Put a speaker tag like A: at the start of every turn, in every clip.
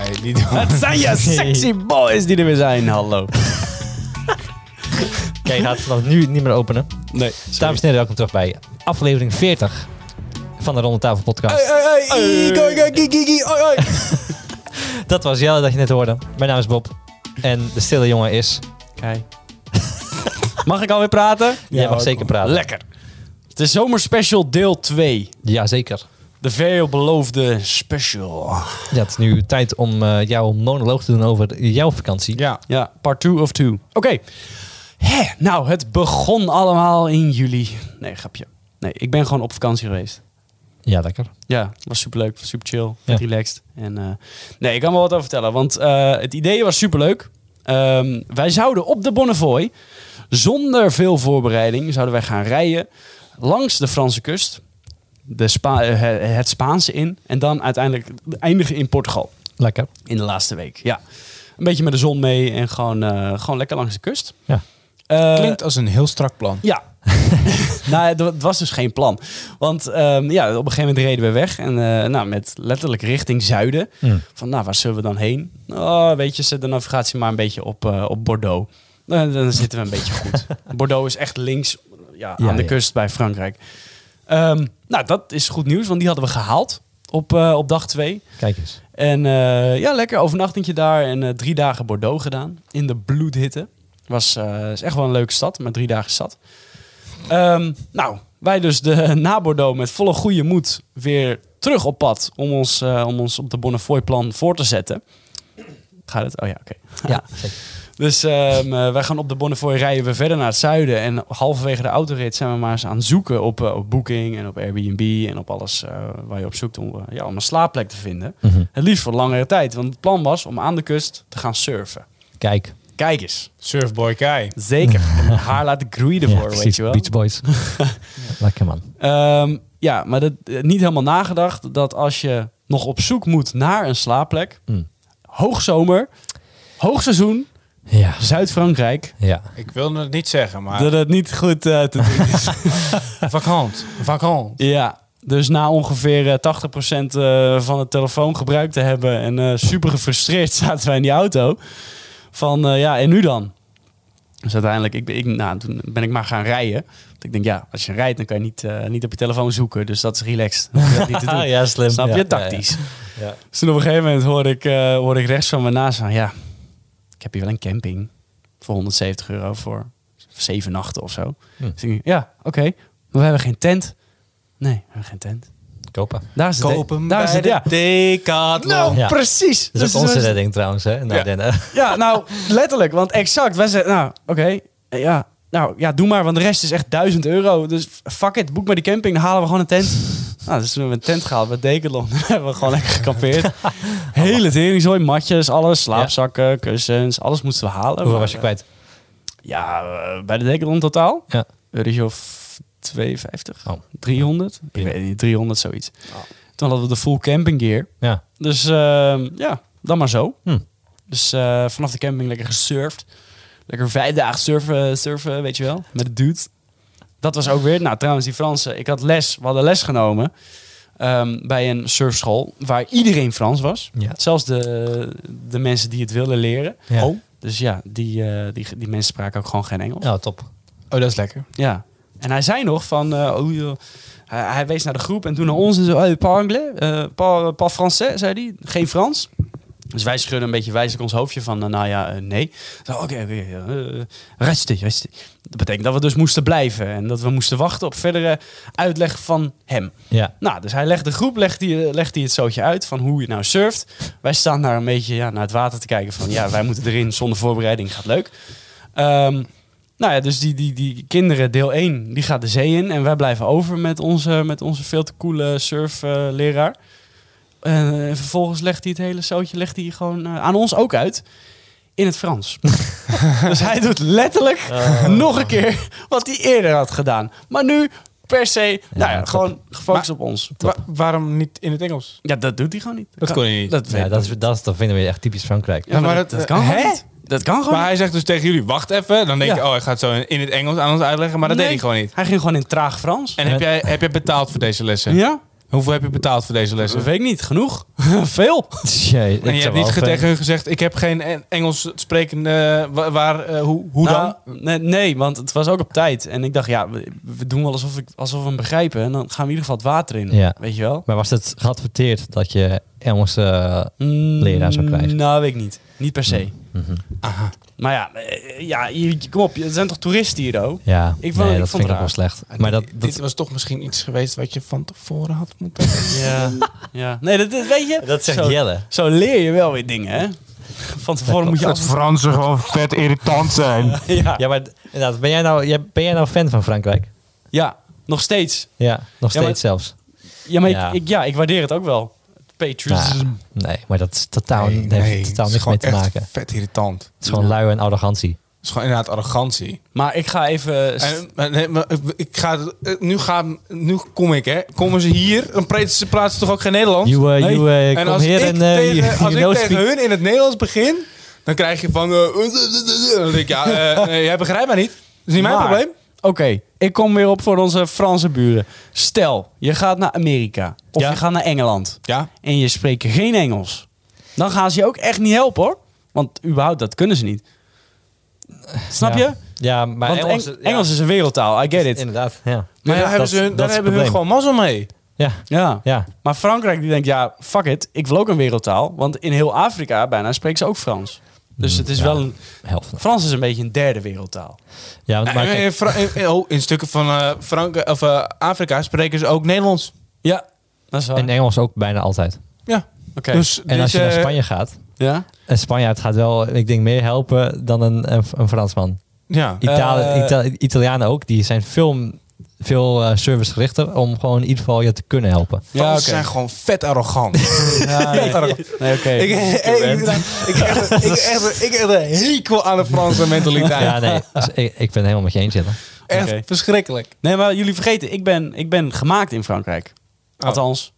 A: Het zijn je sexy boys die er weer zijn. Hallo.
B: Oké, je gaat het vanaf nu niet meer openen.
A: Nee.
B: Dames en heren, welkom terug bij aflevering 40 van de Ronde Tafel Podcast. Dat was Jelle dat je net hoorde. Mijn naam is Bob. En de stille jongen is...
A: Kijk. Mag ik alweer praten?
B: jij mag
C: hoor,
B: zeker praten.
A: Lekker. De zomerspecial deel 2.
B: Ja, zeker.
A: De veelbeloofde special.
B: Ja, het is nu tijd om eh, jouw monoloog te doen over jouw vakantie.
C: Ja.
A: Ja, part 2 of 2. Oké. Hè, nou, het begon allemaal in juli. Nee, grapje. Nee, ik ben gewoon op vakantie geweest.
B: Ja, lekker.
A: Ja, was superleuk. was Super chill.
B: Ja.
A: Relaxed. En, eh, nee, ik kan wel wat over vertellen. Want eh, het idee was superleuk. Ehm, wij zouden op de Bonnefoy, zonder veel voorbereiding, zouden wij gaan rijden langs de Franse kust. De Spa- eh, he- het Spaanse in. En dan uiteindelijk eindigen in Portugal.
B: Lekker.
A: In de laatste week, ja. Een beetje met de zon mee en gewoon, eh, gewoon lekker langs de kust.
B: Ja.
A: Eh,
C: Klinkt als een heel strak plan.
A: ja. nou, het wa- het was dus geen plan. Want ehm, ja, op een gegeven moment reden we weg. En eh, nou, met letterlijk richting zuiden.
B: Mm.
A: Van, nou, waar zullen we dan heen? Oh, weet je, zet de navigatie maar een beetje op, eh, op Bordeaux. Dan, dan zitten we een beetje goed. Bordeaux is echt links ja, aan
B: Ja,
A: de
B: ja.
A: kust bij Frankrijk. Ehm, nou, dat is goed nieuws, want die hadden we gehaald op, eh, op dag twee.
B: Kijk eens.
A: En eh, ja, lekker overnachtingje daar en eh, drie dagen Bordeaux gedaan. In de bloedhitte. Was eh, is echt wel een leuke stad, maar drie dagen stad. Ehm, nou, wij dus de, na Bordeaux met volle goede moed weer terug op pad om ons, eh, om ons op de Bonnefoy-plan voor te zetten. Gaat het? Oh ja, oké.
B: Ja, zeker.
A: Dus ehm, eh, wij gaan op de Bonnefoy rijden we verder naar het zuiden. En halverwege de autorit zijn we maar eens aan het zoeken op, eh, op Booking en op Airbnb en op alles eh, waar je op zoekt om, eh, ja, om een slaapplek te vinden.
B: Mhm.
A: Het liefst voor langere tijd, want het plan was om aan de kust te gaan surfen.
B: Kijk.
A: Kijk eens.
C: Surfboy Kai.
A: Zeker. En haar laten groeien
B: Ja,
A: ervoor, weet
B: precies.
A: je wel.
B: Beach Boys. lekker man.
A: Ehm, ja, maar dat, eh, niet helemaal nagedacht dat als je nog op zoek moet naar een slaapplek,
B: Mm.
A: hoogzomer, hoogseizoen,
B: Ja.
A: Zuid-Frankrijk,
B: Ja.
C: Ik wil het niet zeggen, maar...
A: dat het niet goed eh, te doen is.
C: Vakant. Vakant.
A: Ja, dus na ongeveer eh, 80% eh, van het telefoongebruik te hebben en eh, super gefrustreerd zaten wij in die auto. Van eh, ja, en nu dan? Dus uiteindelijk ik, ik, nou, toen ben ik maar gaan rijden. Want ik denk, ja, als je rijdt, dan kan je niet, eh, niet op je telefoon zoeken. Dus dat is relaxed. Dan hoef je dat niet te doen.
B: ja, slim.
A: Snap
B: Ja,
A: je?
B: ja,
A: Tactisch.
B: ja. Ja.
A: Dus toen op een gegeven moment hoorde ik, eh, hoorde ik rechts van me naast van... Ja, ik heb hier wel een camping voor 170 euro voor zeven nachten of zo.
B: Hm.
A: Dus ik denk, ja, oké. maar we hebben geen tent. Nee, we hebben geen tent.
B: Kopen.
A: Daar is het.
C: Kopen
A: daar is
C: bij
A: het, ja.
C: de Decathlon.
A: Nou,
B: Ja.
A: precies. Dus-
B: Dat is ook onze redding trouwens, hè? Nou,
C: Ja.
B: Den, eh,
A: Ja, nou, letterlijk. Want exact. Wij zeiden, nou, oké. eh, ja, nou, ja, doe maar. Want de rest is echt 1000 euro. Dus fuck it. Boek maar die camping. Dan halen we gewoon een tent. Nou, dus toen hebben we een tent gehaald bij Decathlon. Dan hebben we gewoon lekker gekampeerd. Hele teringzooi. Matjes, alles. Slaapzakken, kussens. Alles moesten we halen.
B: Hoeveel
A: Maar,
B: was je
A: eh,
B: kwijt?
A: Ja, eh, bij de Decathlon totaal.
B: Ja.
A: Euro of 52.
B: Oh.
A: 300?
B: Prima.
A: Ik weet niet, 300 zoiets.
C: Oh.
A: Toen hadden we de full camping gear.
B: Ja.
A: Dus ehm, ja, dan maar zo.
B: Hm.
A: Dus eh, vanaf de camping lekker gesurfd. Lekker vijf dagen surfen, surfen, weet je wel. Met de dude. Dat was ook weer... Nou, trouwens, die Fransen. Ik had les. We hadden les genomen ehm, bij een surfschool waar iedereen Frans was.
B: Ja.
A: Zelfs de, de mensen die het wilden leren.
B: Ja.
C: Oh.
A: Dus ja, die, eh, die, die mensen spraken ook gewoon geen Engels.
B: Ja, top.
C: Oh, dat is lekker.
A: Ja. En hij zei nog van, eh, oh, joh. hij, hij wees naar de groep en toen naar ons en zo, hey, pas anglais, eh, pas, pas français, zei hij, geen Frans. Dus wij schudden een beetje wijzelijk ons hoofdje van, eh, nou ja, eh, nee. Zo, Oké, oké, eh, rustig, rustig. Dat betekent dat we dus moesten blijven en dat we moesten wachten op verdere uitleg van hem.
B: Ja.
A: Nou, dus hij legt de groep, legt hij, legt hij het zootje uit van hoe je nou surft. Wij staan daar een beetje ja, naar het water te kijken van ja, wij moeten erin zonder voorbereiding, gaat leuk. Ehm, nou ja, dus die, die, die kinderen, deel 1, die gaat de zee in en wij blijven over met onze, met onze veel te coole surfleraar. en vervolgens legt hij het hele zootje legt hij gewoon eh, aan ons ook uit in het Frans. dus hij doet letterlijk nog een keer wat hij eerder had gedaan. Maar nu per se, nou ja,
B: top.
A: gewoon gefocust op ons.
B: Top.
C: Wa- waarom niet in het Engels?
A: Ja, dat doet hij gewoon niet.
C: Dat
A: kan-
C: kon je niet.
A: Dat,
B: Ja,
A: weet-
B: dat, is, dat, is- dat vinden we echt typisch Frankrijk.
A: Ja, maar,
C: maar
A: dat,
C: dat-
A: dat kan
C: eh,
A: gewoon
C: hè?
A: niet. Dat kan gewoon
C: Maar hij zegt dus tegen jullie, wacht even. Dan denk
A: Ja.
C: je, oh, hij gaat zo in in het Engels aan ons uitleggen. Maar dat
A: Nee.
C: deed hij gewoon niet.
A: niet. Hij ging gewoon in traag Frans.
C: En heb jij, heb jij betaald voor deze lessen?
A: ja?
C: Hoeveel heb je betaald voor deze lessen?
A: Dat weet ik niet. Genoeg? Veel?
B: Jee, Dus ik
C: En je
B: zou
C: hebt
B: wel
C: niet ge-
B: veel-
C: tegen hun gezegd, ik heb geen En- Engels sprekende, wa- waar, eh, hoe, hoe dan?
A: Nou, Nee, nee, want het was ook op tijd. En ik dacht, ja, we, we doen wel alsof, ik, alsof we hem begrijpen. En dan gaan we in ieder geval het water in.
B: Ja.
A: Weet je wel?
B: Maar was het geadverteerd dat je Engels... eh,
A: Mm,
B: Leraar zou krijgen.
A: Nou, weet ik niet. Niet per se.
B: mhm.
A: Maar ja, eh, ja je- je- kom op. Er zijn toch toeristen hier, ook?
B: Ja,
A: Ik vond-
B: nee,
A: ik
B: dat
A: vond
B: vind
A: het
B: ik ook wel
A: raar.
B: slecht. Maar dat,
C: Dit-
B: dat,
C: Dit was toch misschien iets geweest wat je van tevoren had moeten...
A: Ja. ja. Nee, dat, dat weet je.
B: dat zegt
A: zo,
B: Jelle.
A: Zo leer je wel weer dingen, hè? Van tevoren moet je
D: Dat
A: altijd...
D: Fransen gewoon vet irritant zijn.
A: Ja.
B: Ja, maar d- inderdaad, ben jij nou, jij- ben jij nou fan van Frankrijk?
A: ja, nog steeds.
B: Ja, nog
A: Ja,
B: steeds
A: maar-
B: zelfs.
A: Ja, maar
B: Ja.
A: Ik, ik, ja, ik waardeer het ook wel. Patriotism.
B: Nou, nee, maar dat is totaal, Oh, dat heeft totaal
C: het is
B: niks mee
C: gewoon
B: te
C: echt
B: maken.
C: vet irritant. Het
B: Het is gewoon lui en arrogantie.
C: is gewoon inderdaad arrogantie.
A: Maar ik ga even...
C: En, maar nee, maar ik ga, eh, nu, ga, nu kom ik, hè. Komen ze hier, dan praten ze, praten ze toch ook geen Nederlands?
B: You, eh, you, eh,
C: en
B: kom
C: als
B: hier
C: ik
B: en eh,
C: tegen,
B: you-
C: als
B: you
C: ik
B: know
C: tegen
B: speak.
C: hun in het Nederlands begin, dan krijg je van... eh, dan denk ik, ja, eh, nee, jij begrijpt mij niet. Dat is niet mijn
A: Maar-
C: probleem.
A: Oké, ik kom weer op voor onze Franse buren. Stel, je gaat naar Amerika of
C: Ja.
A: je gaat naar Engeland
C: Ja,
A: en je spreekt geen Engels. Dan gaan ze je ook echt niet helpen hoor. Want überhaupt, dat kunnen ze niet. Snap
B: Ja.
A: je?
B: Ja, maar
A: Want
B: Engels,
A: Engels,
B: ja,
A: Engels is een wereldtaal, I get it.
B: Inderdaad, ja.
C: maar
B: ja,
C: daar hebben, ze hun, daar
B: is het
C: hebben hun
B: probleem.
C: gewoon mazzel mee.
B: Ja,
A: Ja.
B: ja.
A: Maar Frankrijk die denkt, ja, fuck it, ik wil ook een wereldtaal. Want in heel Afrika bijna spreken ze ook Frans. Dus
B: Mm,
A: het is
B: ja.
A: wel een...
B: Helft.
A: Frans is een beetje een derde wereldtaal.
B: Ja, want, maar
C: Eh,
B: kijk,
C: in, Fra- in- oh, in stukken van eh, Frank of, eh, Afrika spreken ze ook Nederlands.
A: Ja, dat is waar.
B: in Engels ook bijna altijd.
C: Ja.
A: Oké.
C: Dus,
B: En als je
C: dus,
B: naar
C: eh,
B: Spanje gaat,
A: ja?
B: een Spanjaard gaat wel, ik denk, meer helpen dan een, een, een Fransman.
C: Ja.
B: Italië,
A: Eh,
B: Ita- Italianen ook, die zijn veel, veel eh, servicegerichter om gewoon in ieder geval je te kunnen helpen.
A: Ja,
C: Fransen
A: oké.
C: zijn gewoon vet arrogant.
A: Ja, nee, nee, oké.
C: ik, ik, ik, ik, echt- ik, echt- ik echt een hekel aan de Franse mentaliteit.
B: Ja, nee, dus ik, ik ben het helemaal met je eens, Jelle.
C: Echt
A: Oké.
C: verschrikkelijk.
A: Nee, maar jullie vergeten, ik ben, ik ben gemaakt in Frankrijk. Althans,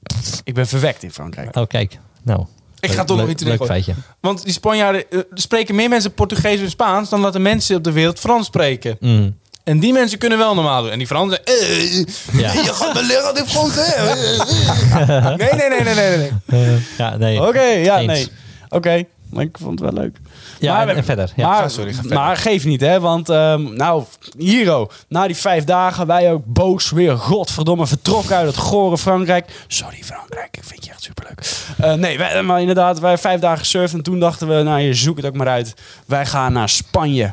A: ik ben verwekt in Frankrijk.
B: Oh, kijk. Nou.
C: Ik ga
B: leuk-
C: toch nog
B: leuk-
C: iets
B: Leuk
C: erin gooien.
B: feitje.
C: Want die Spanjaarden eh, spreken meer mensen Portugees en Spaans dan dat de mensen op de wereld Frans spreken.
B: Mm,
C: En die mensen kunnen wel normaal doen. En die Fransen. eh,
B: Ja.
C: Je gaat me leren in Frans, hè? Eh, Nee, nee, nee, nee, nee. nee.
B: Eh, ja, nee.
A: Oké, ja,
B: Eens.
A: nee. Oké, maar ik vond het wel leuk.
B: Ja,
A: maar-
B: en, en verder. Ja.
A: maar,
C: ga Ah, sorry, ga verder.
A: maar geef niet, hè. Want, ehm, nou, Hiro, na die vijf dagen, wij ook boos weer, godverdomme, vertrokken uit het gore Frankrijk. Sorry, Frankrijk, ik vind je echt superleuk. Eh, nee, wij, maar inderdaad, wij vijf dagen gesurfd en toen dachten we, nou, je zoekt het ook maar uit. Wij gaan naar Spanje.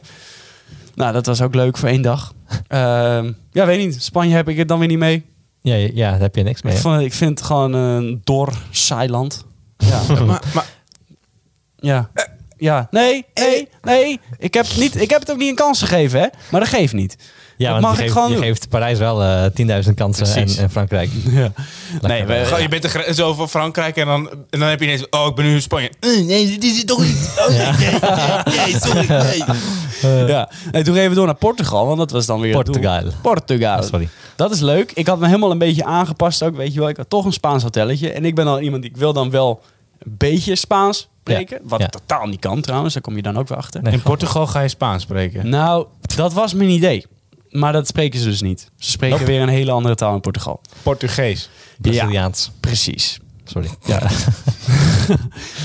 A: Nou, dat was ook leuk voor één dag. Ehm, ja, weet niet, Spanje heb ik het dan weer niet mee.
B: ja, ja, ja, daar heb je niks mee.
A: Ik,
B: hè?
A: vond, ik vind het gewoon een dor, saai land. Ja.
C: Maar, maar
A: ja. Eh, Ja. Nee, nee,
B: Eh.
A: nee. Ik heb, niet, ik heb het ook niet een kans gegeven, hè. Maar dat geeft niet.
B: Ja,
A: dat
B: want
A: mag
B: je
A: ik
B: geeft,
A: gewoon
B: je
A: doen.
B: geeft Parijs wel eh 10.000 kansen en,
A: Precies.
B: en Frankrijk. Lekker.
A: Nee, we-
C: gewoon, oh, je bent de grens over Frankrijk en dan, en dan heb je ineens. Oh, ik ben nu in Spanje. Eh, Nee, dit is het toch niet. Oh, nee, nee, nee, nee, sorry. Nee.
A: Ja. En toen gingen we door naar Portugal, want dat was dan weer het doel.
B: Eh. Portugal.
A: Portugal.
B: Ah, sorry.
A: Dat is leuk. Ik had me helemaal een beetje aangepast ook, weet je wel. Ik had toch een Spaans hotelletje. En ik ben dan iemand die, ik wil dan wel een beetje Spaans spreken. Wat
B: Ja.
A: totaal niet kan trouwens, daar kom je dan ook weer achter.
B: Nee, gewoon-
C: Portugal ga je Spaans spreken.
A: Nou, dat was mijn idee. Maar dat spreken ze dus niet. Ze spreken weer een hele andere taal in Portugal.
C: Portugees.
B: Braziliaans.
A: Precies.
B: Sorry.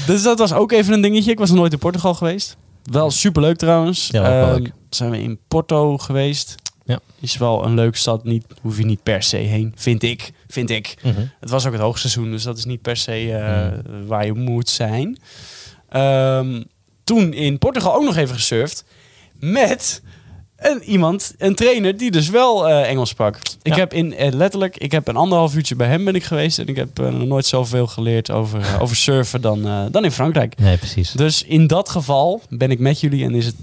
A: Dus dat was ook even een dingetje. Ik was nog nooit in Portugal geweest. Wel superleuk trouwens.
B: Ja, dat was wel
A: Ehm,
B: leuk.
A: Zijn we in Porto geweest.
B: Ja.
A: Is wel een leuke stad. Niet, hoef je niet per se heen. Vind ik. Vind ik.
B: Mhm.
A: Het was ook het hoogseizoen. Dus dat is niet per se eh, waar je moet zijn. Ehm, toen in Portugal ook nog even gesurfd. Met een, iemand, een trainer die dus wel eh, Engels sprak. Ik
B: Ja.
A: heb in, eh, letterlijk, ik heb een anderhalf uurtje bij hem ben ik geweest. En ik heb eh, nog nooit zoveel geleerd over, eh, over surfen dan, eh, dan in Frankrijk.
B: Nee, precies.
A: Dus in dat geval ben ik met jullie en is het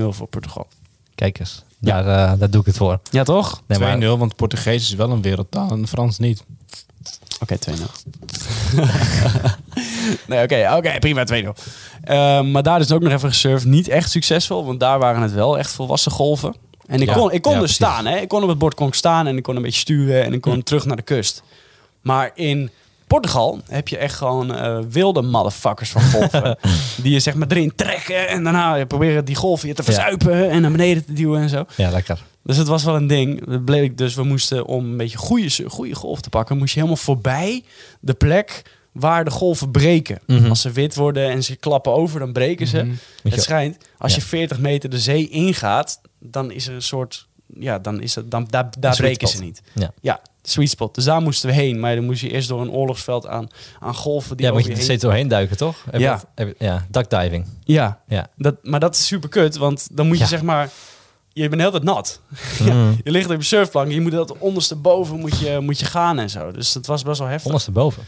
A: 1-0 voor Portugal.
B: Kijk eens. Daar, eh, daar doe ik het voor.
A: Ja, toch?
B: Nee, maar,
C: 2-0, want Portugees is wel een wereldtaal en Frans niet.
A: Oké, 2-0. nee, oké, oké, prima, 2-0. Ehm, maar daar is ook nog even gesurfd. Niet echt succesvol, want daar waren het wel echt volwassen golven. En ik
B: Ja,
A: kon, ik kon
B: ja,
A: dus
B: precies.
A: staan, hè. Ik kon op het bord kon ik staan en ik kon een beetje sturen en ik kon terug naar de kust. Maar in Portugal heb je echt gewoon eh, wilde motherfuckers van golven. die je zeg maar erin trekken en daarna proberen die golven je te verzuipen en naar beneden te duwen en zo.
B: ja, lekker.
A: Dus het was wel een ding. Dat bleek dus, we moesten om een beetje goede, goede golf te pakken, moest je helemaal voorbij de plek waar de golven breken.
B: Mhm.
A: Als ze wit worden en ze klappen over, dan breken ze.
B: Moet
A: Het
B: je-
A: schijnt, als je
B: Ja.
A: 40 meter de zee ingaat, dan is er een soort. Ja, dan is dat. Dan, daar daar
B: sweet
A: breken ze
B: spot.
A: niet.
B: Ja.
A: ja, sweet spot. Dus daar moesten we heen. Maar dan moest je eerst door een oorlogsveld aan, aan golven. Die
B: ja, moet
A: over
B: je er
A: heen-
B: steeds doorheen duiken, toch? Heb je
A: Ja.
B: dat- heb je- ja, duckdiving.
A: Ja,
B: Ja.
A: dat, maar dat is super kut, want dan moet je
B: Ja.
A: zeg maar. Je bent de hele tijd nat.
B: Mm.
A: Je ligt op je surfplank. Je moet dat ondersteboven moet je, moet je gaan en zo. Dus dat was best wel heftig.
B: Ondersteboven.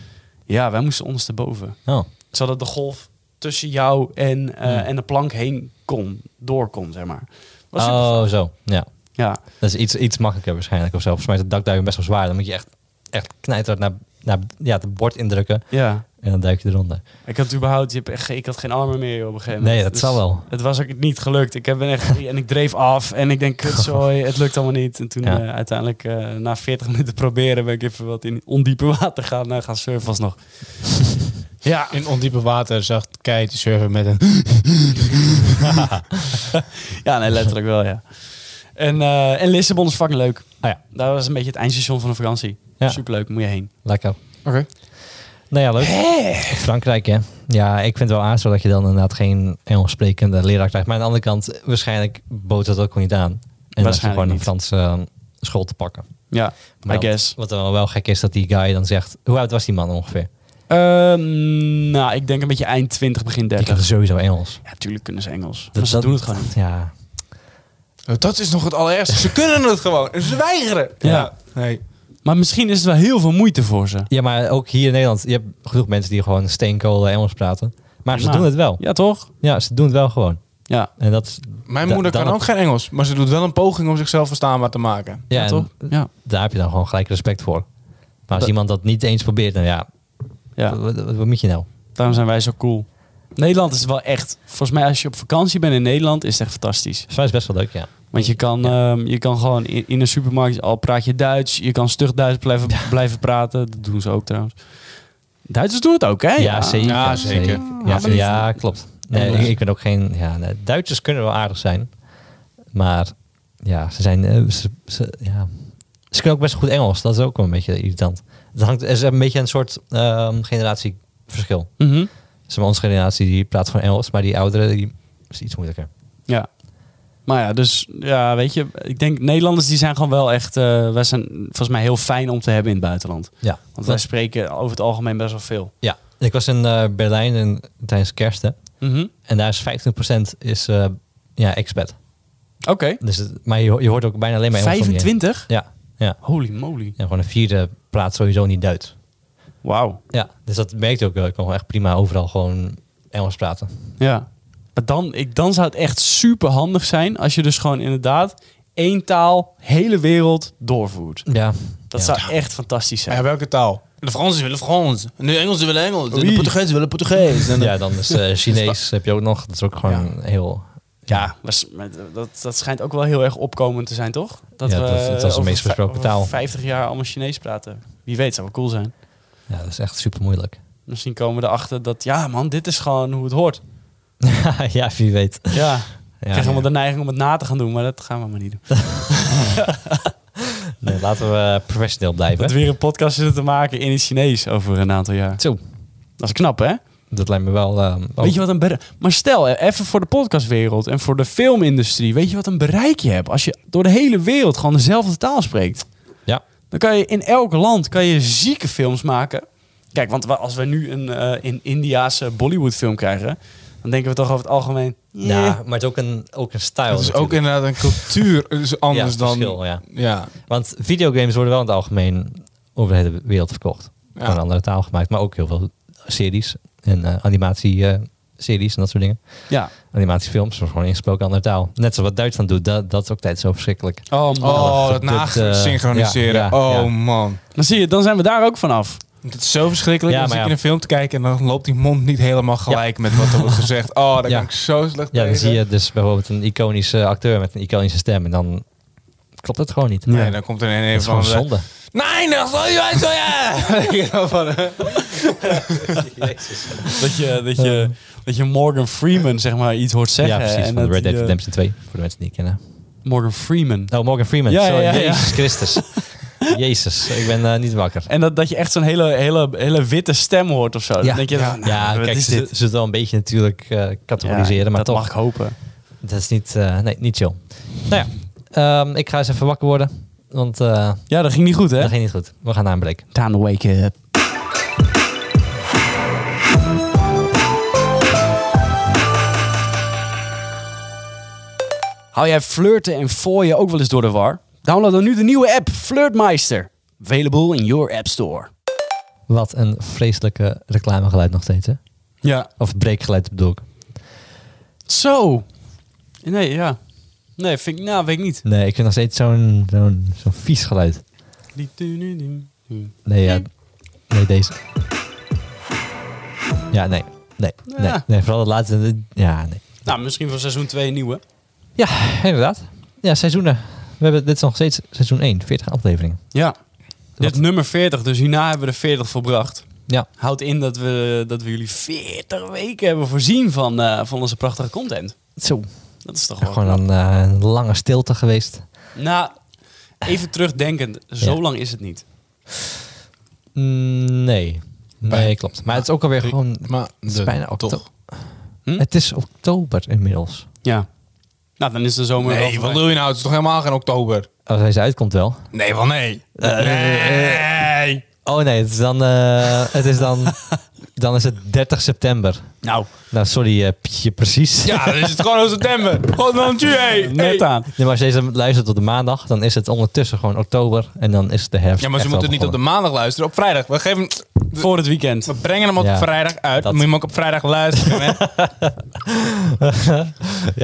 A: Ja, wij moesten ondersteboven.
B: Oh.
A: Zodat de golf tussen jou en, eh,
B: Hmm.
A: en de plank heen kon. Door kon, zeg maar. Was super-
B: oh, zo. Ja.
A: Ja.
B: Dat is iets, iets makkelijker waarschijnlijk of zo. Volgens mij is het dakduiken best wel zwaar. Dan moet je echt, echt knijterhard naar, naar ja, het bord indrukken
A: Ja,
B: en dan duik je eronder.
A: ik had überhaupt, je hebt echt, ik had geen armen meer joh, op een gegeven moment.
B: Nee, dat
A: Dus
B: zal wel.
A: Het was ook niet gelukt. Ik heb ben echt, en ik dreef af en ik denk, kutzooi, het lukt allemaal niet. En toen
B: Ja.
A: eh, uiteindelijk, eh, na 40 minuten proberen, ben ik even wat in ondiepe water gaan, eh, gaan surfen alsnog. ja,
C: In ondiepe water zag Kei die surfen met een...
A: ja, nee, letterlijk wel, ja. En, eh, en Lissabon is fucking leuk.
B: Ah ja.
A: Daar was een beetje het eindstation van de vakantie.
B: Ja.
A: Superleuk, moet je heen.
B: Lekker.
A: Oké.
B: Nou ja, leuk. Frankrijk, hè. Ja, ik vind het wel aardig dat je dan inderdaad geen Engels sprekende leraar krijgt. Maar aan de andere kant, waarschijnlijk bood dat ook niet aan. En was je
A: Waarschijnlijk
B: gewoon een
A: niet.
B: Franse eh, school te pakken.
A: Ja, I
B: wat-
A: guess.
B: Wat dan wel gek is dat die guy dan zegt... Hoe oud was die man ongeveer?
A: Ehm, nou, ik denk een beetje eind 20, begin
B: Die
A: 30.
B: kan sowieso Engels.
A: Ja, tuurlijk kunnen ze Engels. maar ze doen het gewoon niet.
B: Ja.
C: Nou, Dat is nog het allerergste. Ze kunnen het gewoon. En ze weigeren.
A: Ja.
C: Nee.
A: Maar misschien is het wel heel veel moeite voor ze.
B: ja, maar ook hier in Nederland. Je hebt genoeg mensen die gewoon steenkolen Engels praten. Maar ze
A: Nou.
B: doen het wel.
A: Ja, toch?
B: Ja, ze doen het wel gewoon.
A: Ja.
B: En dat,
C: Mijn
B: Da-
C: moeder kan
B: dan-
C: ook geen Engels, maar ze doet wel een poging om zichzelf verstaanbaar te maken.
B: ja, en
A: toch? Ja.
B: daar heb je dan gewoon gelijk respect voor. Maar als
A: Dat-
B: iemand dat niet eens probeert, dan ja,
A: ja.
B: Wat, wat- wat moet je nou?
A: Daarom zijn wij zo cool. Nederland is wel echt... Volgens mij als je op vakantie bent in Nederland is het echt fantastisch.
B: Volgens mij is het best wel leuk, ja.
A: Want je kan, ehm, je kan gewoon in, in een supermarkt... Al praat je Duits. Je kan stug Duits blijven, blijven praten. Dat doen ze ook trouwens. Duitsers doen het ook, hè?
C: Ja, zeker.
B: Ja,
A: maar niet-
B: ja, klopt. Nee, ik, ik ben ook geen... Ja, nee, Duitsers kunnen wel aardig zijn. Maar ja, ze zijn... eh, Ze, ze- ja. ze kunnen ook best goed Engels. Dat is ook wel een beetje irritant. Het hangt, er is een beetje een soort ehm, generatieverschil.
A: Mhm.
B: Dus onze generatie die praat gewoon Engels, maar die ouderen die is iets moeilijker.
A: Ja. Maar ja, dus ja, weet je, ik denk Nederlanders die zijn gewoon wel echt, eh, wij zijn volgens mij heel fijn om te hebben in het buitenland.
B: Ja.
A: Want wij spreken over het algemeen best wel veel.
B: Ja. Ik was in eh, Berlijn en, tijdens kerst, hè.
A: Mhm.
B: En daar is 15% is, eh, ja, expat.
A: Oké.
B: Dus het- maar je, ho- je hoort ook bijna alleen maar Engels om je heen.
A: 25?
B: Ja, ja.
A: Holy moly.
B: En gewoon een vierde praat sowieso niet Duits.
A: Wauw.
B: Ja, dus dat merkte ook wel. Ik kon gewoon echt prima overal gewoon Engels praten.
A: Ja. Maar dan, ik, dan zou het echt super handig zijn als je dus gewoon inderdaad één taal, hele wereld doorvoert.
B: Ja.
A: Dat
B: Ja.
A: zou echt fantastisch zijn.
C: Ja, welke taal? De Fransen willen Frans. En de Engelsen willen Engels. En
A: Oei.
C: de Portugezen willen Portugees. En Dus de-
B: Ja, dan is eh, Chinees heb je ook nog. Dat is ook gewoon heel...
A: Ja, was- met- dat, dat schijnt ook wel heel erg opkomend te zijn, toch?
B: Ja, dat- dat was de
A: over
B: meest
A: vij-
B: besproken
A: over
B: taal.
A: 50 jaar allemaal Chinees praten. Wie weet, zou wel cool zijn.
B: Ja, dat is echt super moeilijk.
A: Misschien komen we erachter dat, ja man, dit is gewoon hoe het hoort.
B: ja, wie weet. Ja,
A: Ja, ik krijg
B: ja.
A: helemaal de neiging om het na te gaan doen, maar dat gaan we maar niet doen.
B: Nee, laten we eh, professioneel blijven.
A: Dat we weer een podcast zitten te maken in het Chinees over een aantal jaar.
B: Zo,
A: Dat is knap, hè?
B: dat lijkt me wel... ehm, oh.
A: Weet je wat een bere- Maar stel, eh, even voor de podcastwereld en voor de filmindustrie. Weet je wat een bereik je hebt als je door de hele wereld gewoon dezelfde taal spreekt?
B: Ja.
A: Dan kan je in elk land kan je zieke films maken. Kijk, want wa- als we nu een eh, in Indiaanse Bollywood film krijgen, dan denken we toch over het algemeen.
B: Ja,
A: Nou.
B: maar het is ook een, ook een stijl
C: Het is ook
B: natuurlijk.
C: inderdaad een cultuur is anders
B: ja,
C: dan...
B: Verschil, ja.
C: Ja.
B: Want videogames worden wel in het algemeen over de hele wereld verkocht.
C: Ja.
B: Van een andere taal gemaakt, maar ook heel veel series en eh, animatie-series en dat soort dingen.
A: Ja.
B: Animatiefilms, maar gewoon ingesproken andere taal. Net zoals wat Duitsland doet, dat, dat is ook tijd zo verschrikkelijk.
A: Oh, man.
C: Oh, dat
B: dat, eh,
C: nagesynchroniseren.
B: ja, ja,
C: oh
B: ja.
C: man.
A: Dan zie je, dan zijn we daar ook vanaf.
C: Het is zo verschrikkelijk.
B: Ja,
C: als
B: maar
C: ik
B: ja.
C: in een film te kijken en dan loopt die mond niet helemaal gelijk met wat er wordt gezegd. Oh, daar
B: Ja.
C: kan ik zo slecht
B: Ja, dan
C: tegen.
B: zie je dus bijvoorbeeld een iconische acteur met een iconische stem en dan klopt het gewoon niet.
C: Nee, dan komt er in
B: Dat
C: een
B: is gewoon
C: van de...
B: zonde.
C: Nee, dat zal je uit, zo ja!
A: Dat je, dat je, dat je Morgan Freeman zeg maar iets hoort zeggen.
B: ja, precies,
A: en
B: van
A: dat
B: Red Dead
A: hij, eh,
B: Redemption 2, voor de mensen die het kennen.
A: Morgan Freeman.
B: Oh, Morgan Freeman.
A: Ja,
B: Zo,
A: ja, ja, ja.
B: Jezus Christus. Jezus, ik ben eh, niet wakker.
A: En dat, dat je echt zo'n hele, hele, hele witte stem hoort of zo. Dan
B: Ja.
A: denk je,
C: Ja.
A: nou,
B: Ja,
A: wat
B: kijk,
A: is
B: ze ze
A: dit?
B: zullen het wel een beetje natuurlijk eh, categoriseren,
A: Ja,
B: maar
A: dat
B: toch.
A: mag ik hopen.
B: Dat is niet, eh, nee, niet chill. Nou ja, ehm, ik ga eens even wakker worden, want eh,
A: Ja, dat ging niet goed, hè?
B: dat ging eh, niet goed. We gaan naar een break.
A: Time to wake up. Hou jij flirten en fooien ook wel eens door de war? Download dan nu de nieuwe app Flirtmeister. Available in your app store.
B: Wat een vreselijke reclamegeluid nog steeds, hè?
A: Ja.
B: Of breekgeluid bedoel ik.
A: Zo. Nee, ja. Nee, vind ik, nou, weet ik niet.
B: Nee, ik vind nog steeds zo'n zo'n zo'n vies geluid. Nee, ja. Nee, deze. Ja, nee. Nee, nee,
A: Ja.
B: nee. Vooral dat laatste. Ja, nee.
A: Nou, misschien voor seizoen 2 nieuwe.
B: Ja, inderdaad. Ja, seizoenen. We hebben, dit is nog steeds seizoen 1, 40 afleveringen.
A: Ja. Dit is nummer 40, dus hierna hebben we de 40 volbracht.
B: Ja.
A: Houdt in dat we, dat we jullie 40 weken hebben voorzien van, eh, van onze prachtige content.
B: Zo.
A: Dat is toch wel
B: Gewoon
A: knap.
B: een eh, lange stilte geweest.
A: Nou, even terugdenkend. Zo
B: Ja.
A: lang is het niet.
B: Mm, Nee. Nee,
C: Bij-
B: klopt. Maar het is ook alweer gewoon...
C: Maar
B: Het is bijna oktober.
A: Hm?
B: Het is oktober inmiddels.
A: Ja. Nou, dan is de zomer wel
C: Nee, wat
A: voorbij.
C: wil je nou? Het is toch helemaal geen oktober?
B: Als deze uitkomt wel.
C: Nee, wel nee.
B: Eh,
C: nee.
B: Oh nee, het is dan... eh, het is dan... dan is het 30 september.
A: Nou,
B: Nou, sorry eh, Pietje, precies.
C: Ja, dan is het gewoon in september. Gewoon dan tju, hey.
A: net
C: Hey.
A: aan.
B: Nee, maar als je deze luistert tot de maandag, dan is het ondertussen gewoon oktober. En dan is de herfst
C: Ja, maar ze
B: echt wel
C: moeten niet op de
B: begonnen.
C: maandag luisteren. Op vrijdag. We, geven,
A: Voor het weekend.
C: we brengen hem op
B: Ja,
C: vrijdag uit.
B: dat-
C: Moet je hem ook op vrijdag luisteren. hè?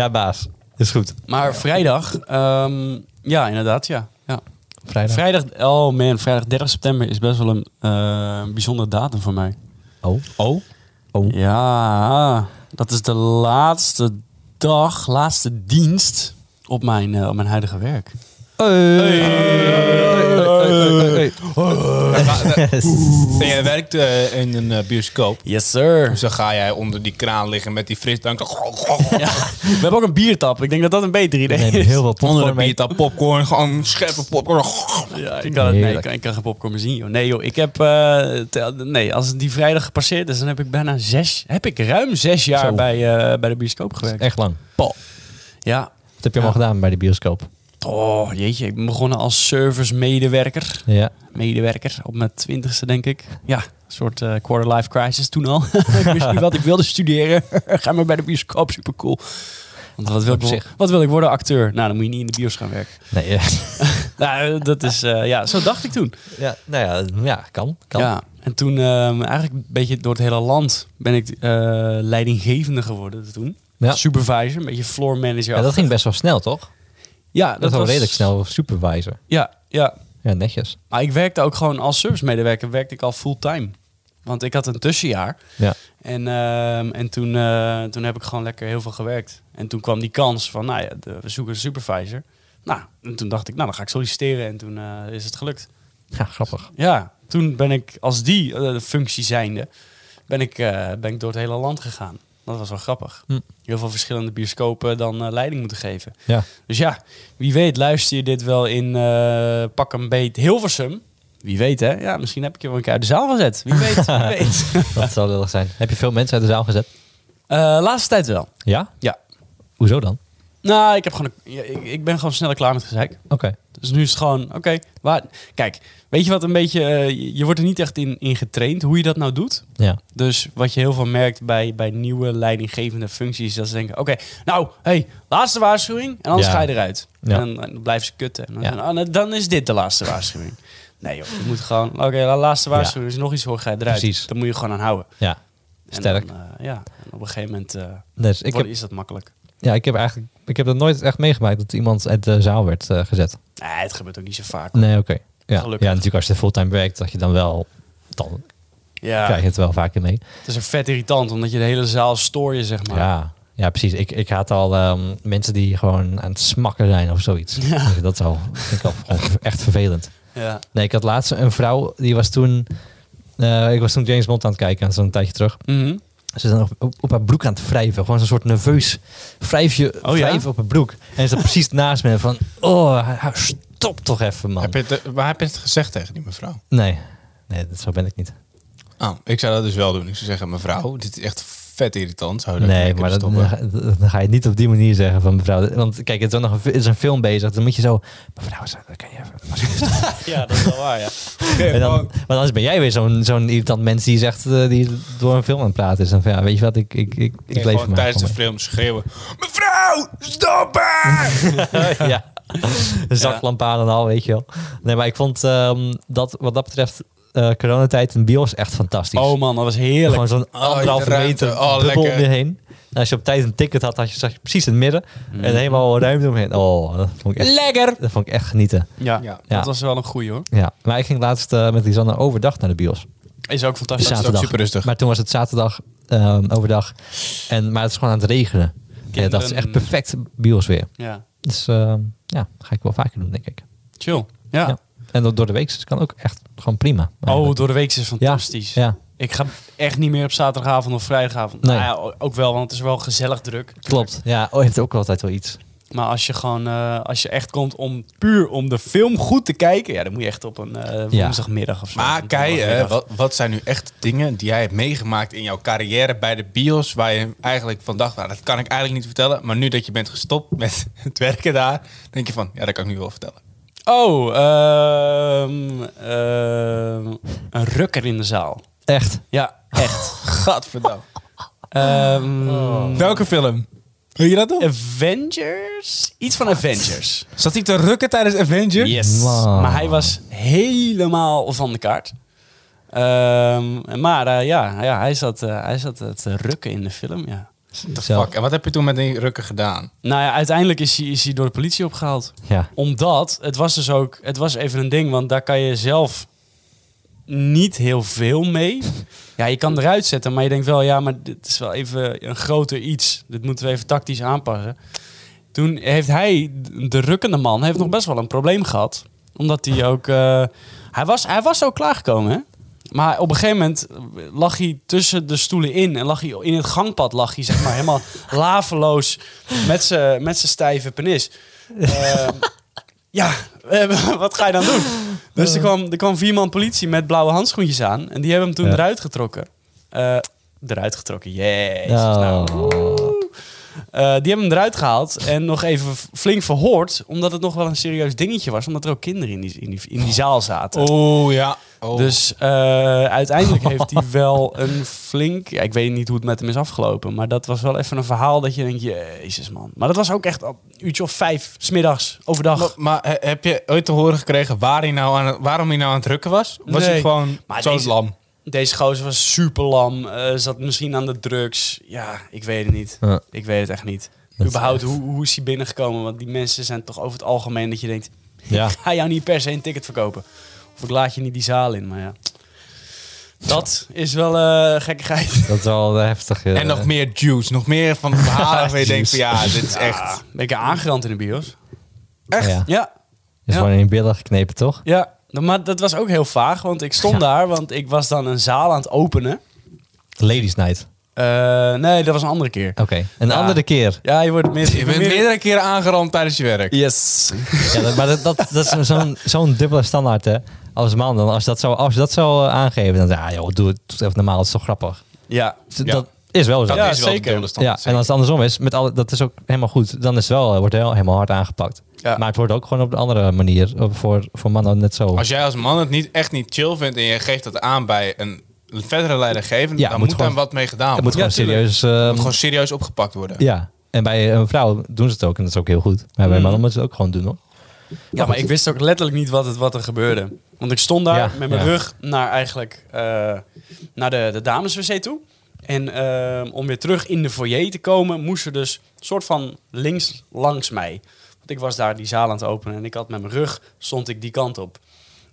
B: Ja, baas. Is goed.
A: Maar vrijdag, ehm, ja, inderdaad, ja. ja.
B: Vrijdag.
A: Vrijdag, oh man, vrijdag 30 september is best wel een eh, bijzondere datum voor mij.
B: Oh. Oh. Oh.
A: Ja, dat is de laatste dag, laatste dienst op mijn, eh, op mijn huidige werk.
C: En jij werkt eh, in een eh, bioscoop.
A: Yes, sir.
C: Dus dan ga jij onder die kraan liggen met die frisdrank.
A: We hebben ook een biertap. Ik denk dat dat een beter
B: We
A: idee is.
B: nemen heel veel
C: Onder de
B: popcorn mee.
C: biertap popcorn. Gewoon scherpe popcorn.
A: Ja, ik kan, het, nee, ik,
B: Heerlijk.
A: kan, ik kan geen popcorn meer zien, joh. Nee, joh, ik heb... eh, te- nee, als die vrijdag gepasseerd is, dan heb ik bijna zes... Heb ik ruim zes jaar
B: Zo.
A: bij, eh, bij de bioscoop gewerkt.
B: Echt lang.
A: Ja.
B: Wat heb je allemaal gedaan bij de bioscoop?
A: Oh, jeetje. Ik ben begonnen als service-medewerker.
B: Ja.
A: Medewerker, op mijn twintigste, denk ik. Ja, een soort eh, quarter-life crisis toen al. ik wist niet wat ik wilde studeren. Ga maar bij de bioscoop, supercool. Want wat wil,
B: Op
A: ik, wel-
B: zich.
A: wat wil ik worden? Acteur. Nou, dan moet je niet in de bios gaan werken.
B: Nee, ja.
A: Nou, dat is... eh, ja, zo dacht ik toen.
B: ja. Nou ja, ja, kan. kan.
A: Ja, en toen ehm, eigenlijk een beetje door het hele land ben ik eh, leidinggevende geworden toen.
B: Ja.
A: Supervisor, een beetje floor manager.
B: Ja, dat ging best wel snel, toch? Dat,
A: ja, dat
B: was wel
A: was-
B: redelijk snel. Supervisor.
A: Ja, ja.
B: Ja, netjes.
A: Maar ik werkte ook gewoon als servicemedewerker, werkte ik al fulltime. Want ik had een tussenjaar.
B: Ja.
A: En, ehm, en toen, eh, toen heb ik gewoon lekker heel veel gewerkt. En toen kwam die kans van, nou ja, de, we zoeken een supervisor. Nou, en toen dacht ik, nou, dan ga ik solliciteren. En toen eh, is het gelukt.
B: Ja, grappig.
A: Ja, toen ben ik als die eh, functie zijnde, ben ik, eh, ben ik door het hele land gegaan. Dat was wel grappig.
B: Hm.
A: Heel veel verschillende bioscopen dan eh, leiding moeten geven.
B: Ja.
A: Dus ja, wie weet luister je dit wel in eh, pak een beet Hilversum. Wie weet hè? Ja, misschien heb ik je wel een keer uit de zaal gezet. Wie weet, wie weet.
B: Dat zou lullig zijn. Heb je veel mensen uit de zaal gezet?
A: Eh, laatste tijd wel.
B: Ja?
A: Ja.
B: Hoezo dan?
A: Nou, ik, heb gewoon een- ja, ik, ik ben gewoon sneller klaar met gezeik.
B: Oké.
A: Dus nu is het gewoon, oké, waar... Kijk, weet je wat een beetje... eh, je- je wordt er niet echt in, in getraind hoe je dat nou doet.
B: Ja.
A: Dus wat je heel veel merkt bij, bij nieuwe leidinggevende functies, is dat ze denken: oké, nou, hey, laatste waarschuwing en anders
B: Ja.
A: ga je eruit.
B: Ja.
A: En, dan- en dan blijven ze kutten. En dan,
B: Ja.
A: zeggen, oh, nou, dan is dit de laatste waarschuwing. Nee, joh, je moet gewoon: oké, la- laatste waarschuwing, als je nog iets hoor, ga je eruit.
B: Precies.
A: Dan moet je gewoon aan houden.
B: Ja.
A: En
B: Sterk.
A: dan, eh, ja, en op een gegeven moment eh,
B: Dus ik
A: wordt-
B: heb,
A: is dat makkelijk.
B: ja, ik heb eigenlijk... Ik heb dat nooit echt meegemaakt dat iemand uit de zaal werd eh, gezet.
A: Nee, het gebeurt ook niet zo vaak.
B: Nee, oké. Ja. ja,
A: Gelukkig.
B: natuurlijk als je fulltime werkt, dat je dan wel... Dan
A: Ja,
B: krijg je het wel vaker mee.
A: het is een vet irritant, omdat je de hele zaal stoor je, zeg maar.
B: Ja, ja precies. Ik, ik haat al ehm, mensen die gewoon aan het smakken zijn of zoiets. Dat is al, vind ik al gewoon echt vervelend.
A: Ja.
B: Nee, ik had laatst een vrouw, die was toen... eh, ik was toen James Bond aan het kijken, zo'n tijdje terug.
A: Mhm.
B: Ze is dan op, op, op haar broek aan het wrijven. Gewoon zo'n soort nerveus wrijfje
C: Oh
A: ja?
B: wrijven op haar broek. En is dan precies naast me van... Oh, ha- ha, stop toch even, man.
C: Heb je het, eh, waar heb je het gezegd tegen die mevrouw?
B: Nee. Nee, dat, zo ben ik niet.
C: Oh, ik zou dat dus wel doen. Ik zou zeggen, mevrouw, dit is echt vet irritant. Zou je dat
B: Nee,
C: mee
B: maar
C: kunnen
B: dat, dan,
C: stoppen?
B: ga- dan ga je het niet op die manier zeggen van mevrouw. Want kijk, het is, ook nog een, fi- er is een film bezig. Dan moet je zo... Mevrouw, zo- dat kan je even...
A: Ja, dat is wel waar, ja.
B: En dan, maar anders ben jij weer zo'n zo'n irritant mens die zegt... eh, die door een film aan het praten is. Dan van, ja, weet je wat? Ik, ik, ik, ik
C: Nee,
B: leef voor
C: gewoon
B: mij.
C: tijdens de film schreeuwen. Mevrouw, stoppen!
B: ja. Een zaklamp aan en al, weet je wel. Nee, maar ik vond ehm, dat wat dat betreft eh, coronatijd in bios echt fantastisch.
A: Oh man, dat was heerlijk.
B: Gewoon zo'n anderhalve
C: die ruimte.
B: meter
C: Oh,
B: bubbel
C: lekker.
B: om je heen. En als je op tijd een ticket had, had je, zag je precies in het midden. En helemaal ruimte omheen. Oh, dat vond ik echt,
A: Lekker!
B: dat vond ik echt genieten.
A: Ja,
C: Ja.
A: dat was wel een goeie hoor.
B: Ja. Maar ik ging laatst eh, met Lisanne overdag naar de bios.
A: Is ook fantastisch.
C: ook
B: zaterdag.
C: super rustig.
B: Maar toen was het zaterdag ehm, overdag. En, maar het is gewoon aan het regenen. Ja, dat is echt perfect bios weer.
A: Ja,
B: Dus ehm, ja, ga ik wel vaker doen, denk ik.
A: chill. Ja.
B: Ja. En dat door de week dus het kan ook echt gewoon prima.
A: Oh,
B: Eigenlijk.
A: door de week is fantastisch.
B: ja,
A: Ik ga echt niet meer op zaterdagavond of vrijdagavond.
B: Nee.
A: Nou ja, ook wel, want het is wel gezellig druk.
B: klopt. Ja, oh, heeft ook altijd wel iets.
A: Maar als je gewoon, eh, als je echt komt om puur om de film goed te kijken, ja, dan moet je echt op een eh,
B: Ja.
A: woensdagmiddag of zo.
C: Maar
A: Een
C: Kei, hè,
A: donderdagmiddag.
C: wat, wat zijn nu echt dingen die jij hebt meegemaakt in jouw carrière bij de bios... waar je eigenlijk van dacht, nou, dat kan ik eigenlijk niet vertellen... maar nu dat je bent gestopt met het werken daar... denk je van, ja, dat kan ik nu wel vertellen.
A: Oh, ehm, ehm, een rukker in de zaal.
B: Echt.
A: Ja, echt.
C: Gadverdamme.
A: Ehm,
C: Welke film? Wil je dat doen?
A: Avengers? Iets van Avengers.
C: Zat hij te rukken tijdens Avengers?
A: Yes.
B: Wow.
A: Maar hij was helemaal van de kaart. Ehm, maar eh, ja, ja, hij zat, eh, hij zat eh, te rukken in de film, ja.
B: Zelf.
C: Fuck, en wat heb je toen met die rukken gedaan?
A: Nou ja, uiteindelijk is hij, is hij door de politie opgehaald.
B: Ja.
A: Omdat, het was dus ook, het was even een ding, want daar kan je zelf niet heel veel mee. Ja, je kan eruit zetten, maar je denkt wel, ja, maar dit is wel even een groter iets. Dit moeten we even tactisch aanpassen. Toen heeft hij, de rukkende man, heeft nog best wel een probleem gehad. Omdat hij ook, eh, hij, was, hij was ook klaargekomen, hè? Maar op een gegeven moment lag hij tussen de stoelen in. En lag hij in het gangpad, lag hij zeg maar helemaal laveloos met zijn met zijn stijve penis. Ehm, ja, eh, wat ga je dan doen? Dus er kwam, er kwam vier man politie met blauwe handschoentjes aan. En die hebben hem toen
B: Ja.
A: eruit getrokken. Eh, eruit getrokken, jezus.
B: Oh.
A: Nou, woe. Eh, die hebben hem eruit gehaald en nog even f- flink verhoord. Omdat het nog wel een serieus dingetje was. Omdat er ook kinderen in die, in die, in die zaal zaten.
C: Oh ja. Oh.
A: Dus eh, uiteindelijk heeft hij wel een flink... Ja, ik weet niet hoe het met hem is afgelopen. Maar dat was wel even een verhaal dat je denkt... Jezus man. Maar dat was ook echt al een uurtje of vijf. Smiddags, overdag.
C: Maar, maar he- heb je ooit te horen gekregen waar hij nou aan, het- waarom hij nou aan het rukken was? Was
A: Nee.
C: hij gewoon
A: Maar
C: zo
A: deze-
C: lam?
A: Deze gozer was super lam. eh, zat misschien aan de drugs. Ja, ik weet het niet.
B: Ja.
A: Ik weet het echt niet.
B: Dat is
A: Überhaupt,
B: echt-
A: hoe, hoe is hij binnengekomen? Want die mensen zijn toch over het algemeen dat je denkt...
B: Ja.
A: Ik ga jou niet per se een ticket verkopen. Of ik laat je niet die zaal in, maar ja. Dat is wel eh, gekkigheid.
B: Dat is wel heftig. eh.
C: en nog meer juice, nog meer van de verhalen waar je denkt van ja, dit is echt...
A: Ben ik aangerand in de bios?
C: Echt?
B: Ja.
A: Ja, Ja.
B: Is gewoon in je billen geknepen, toch?
A: Ja, dan- maar dat was ook heel vaag, want ik stond daar, want ik was dan een zaal aan het openen.
B: Ladies night.
A: Eh, nee, dat was een andere keer.
B: Oké. Een
C: Ah.
A: Ja.
B: andere keer.
A: Ja, je wordt meer...
C: Je bent meerdere keren aangerand tijdens je werk.
A: Yes.
B: Ja, dat, maar dat, dat, dat is zo'n zo'n dubbele standaard, hè. Als man, dan als je dat zou, als je dat zou eh, aangeven, dan ja, joh, doe het even normaal. Dat is toch grappig.
A: Ja.
B: Dus
C: Ja.
B: Dat is wel zo.
C: Dat
A: Ja,
C: is wel
A: zeker.
C: de dubbele standaard.
B: ja, en als het andersom is, met alle, dat is ook helemaal goed. Dan is het wel, eh, wordt heel, helemaal hard aangepakt.
A: Ja.
B: Maar het wordt ook gewoon op de andere manier eh, voor, voor mannen net zo.
C: Als jij als man het niet, echt niet chill vindt en je geeft dat aan bij een verdere leidinggevende,
B: Ja,
C: dan
B: moet
C: moet
B: gewoon-
C: daar wat mee gedaan
B: het
C: worden.
B: moet
A: Ja,
B: gewoon
A: tuurlijk.
B: serieus... eh,
C: Het moet gewoon serieus opgepakt worden.
B: ja, en bij een vrouw doen ze het ook en dat is ook heel goed. Maar bij
A: Mm.
B: mannen moeten ze het ook gewoon doen hoor.
A: Ja, maar ik wist ook letterlijk niet wat, het, wat er gebeurde. Want ik stond daar
B: Ja,
A: met mijn
B: ja.
A: rug naar eigenlijk eh, naar de, de dameswc toe. En ehm, om weer terug in de foyer te komen, moest er dus soort van links langs mij. Want ik was daar die zaal aan het openen en ik had met mijn rug, stond ik die kant op.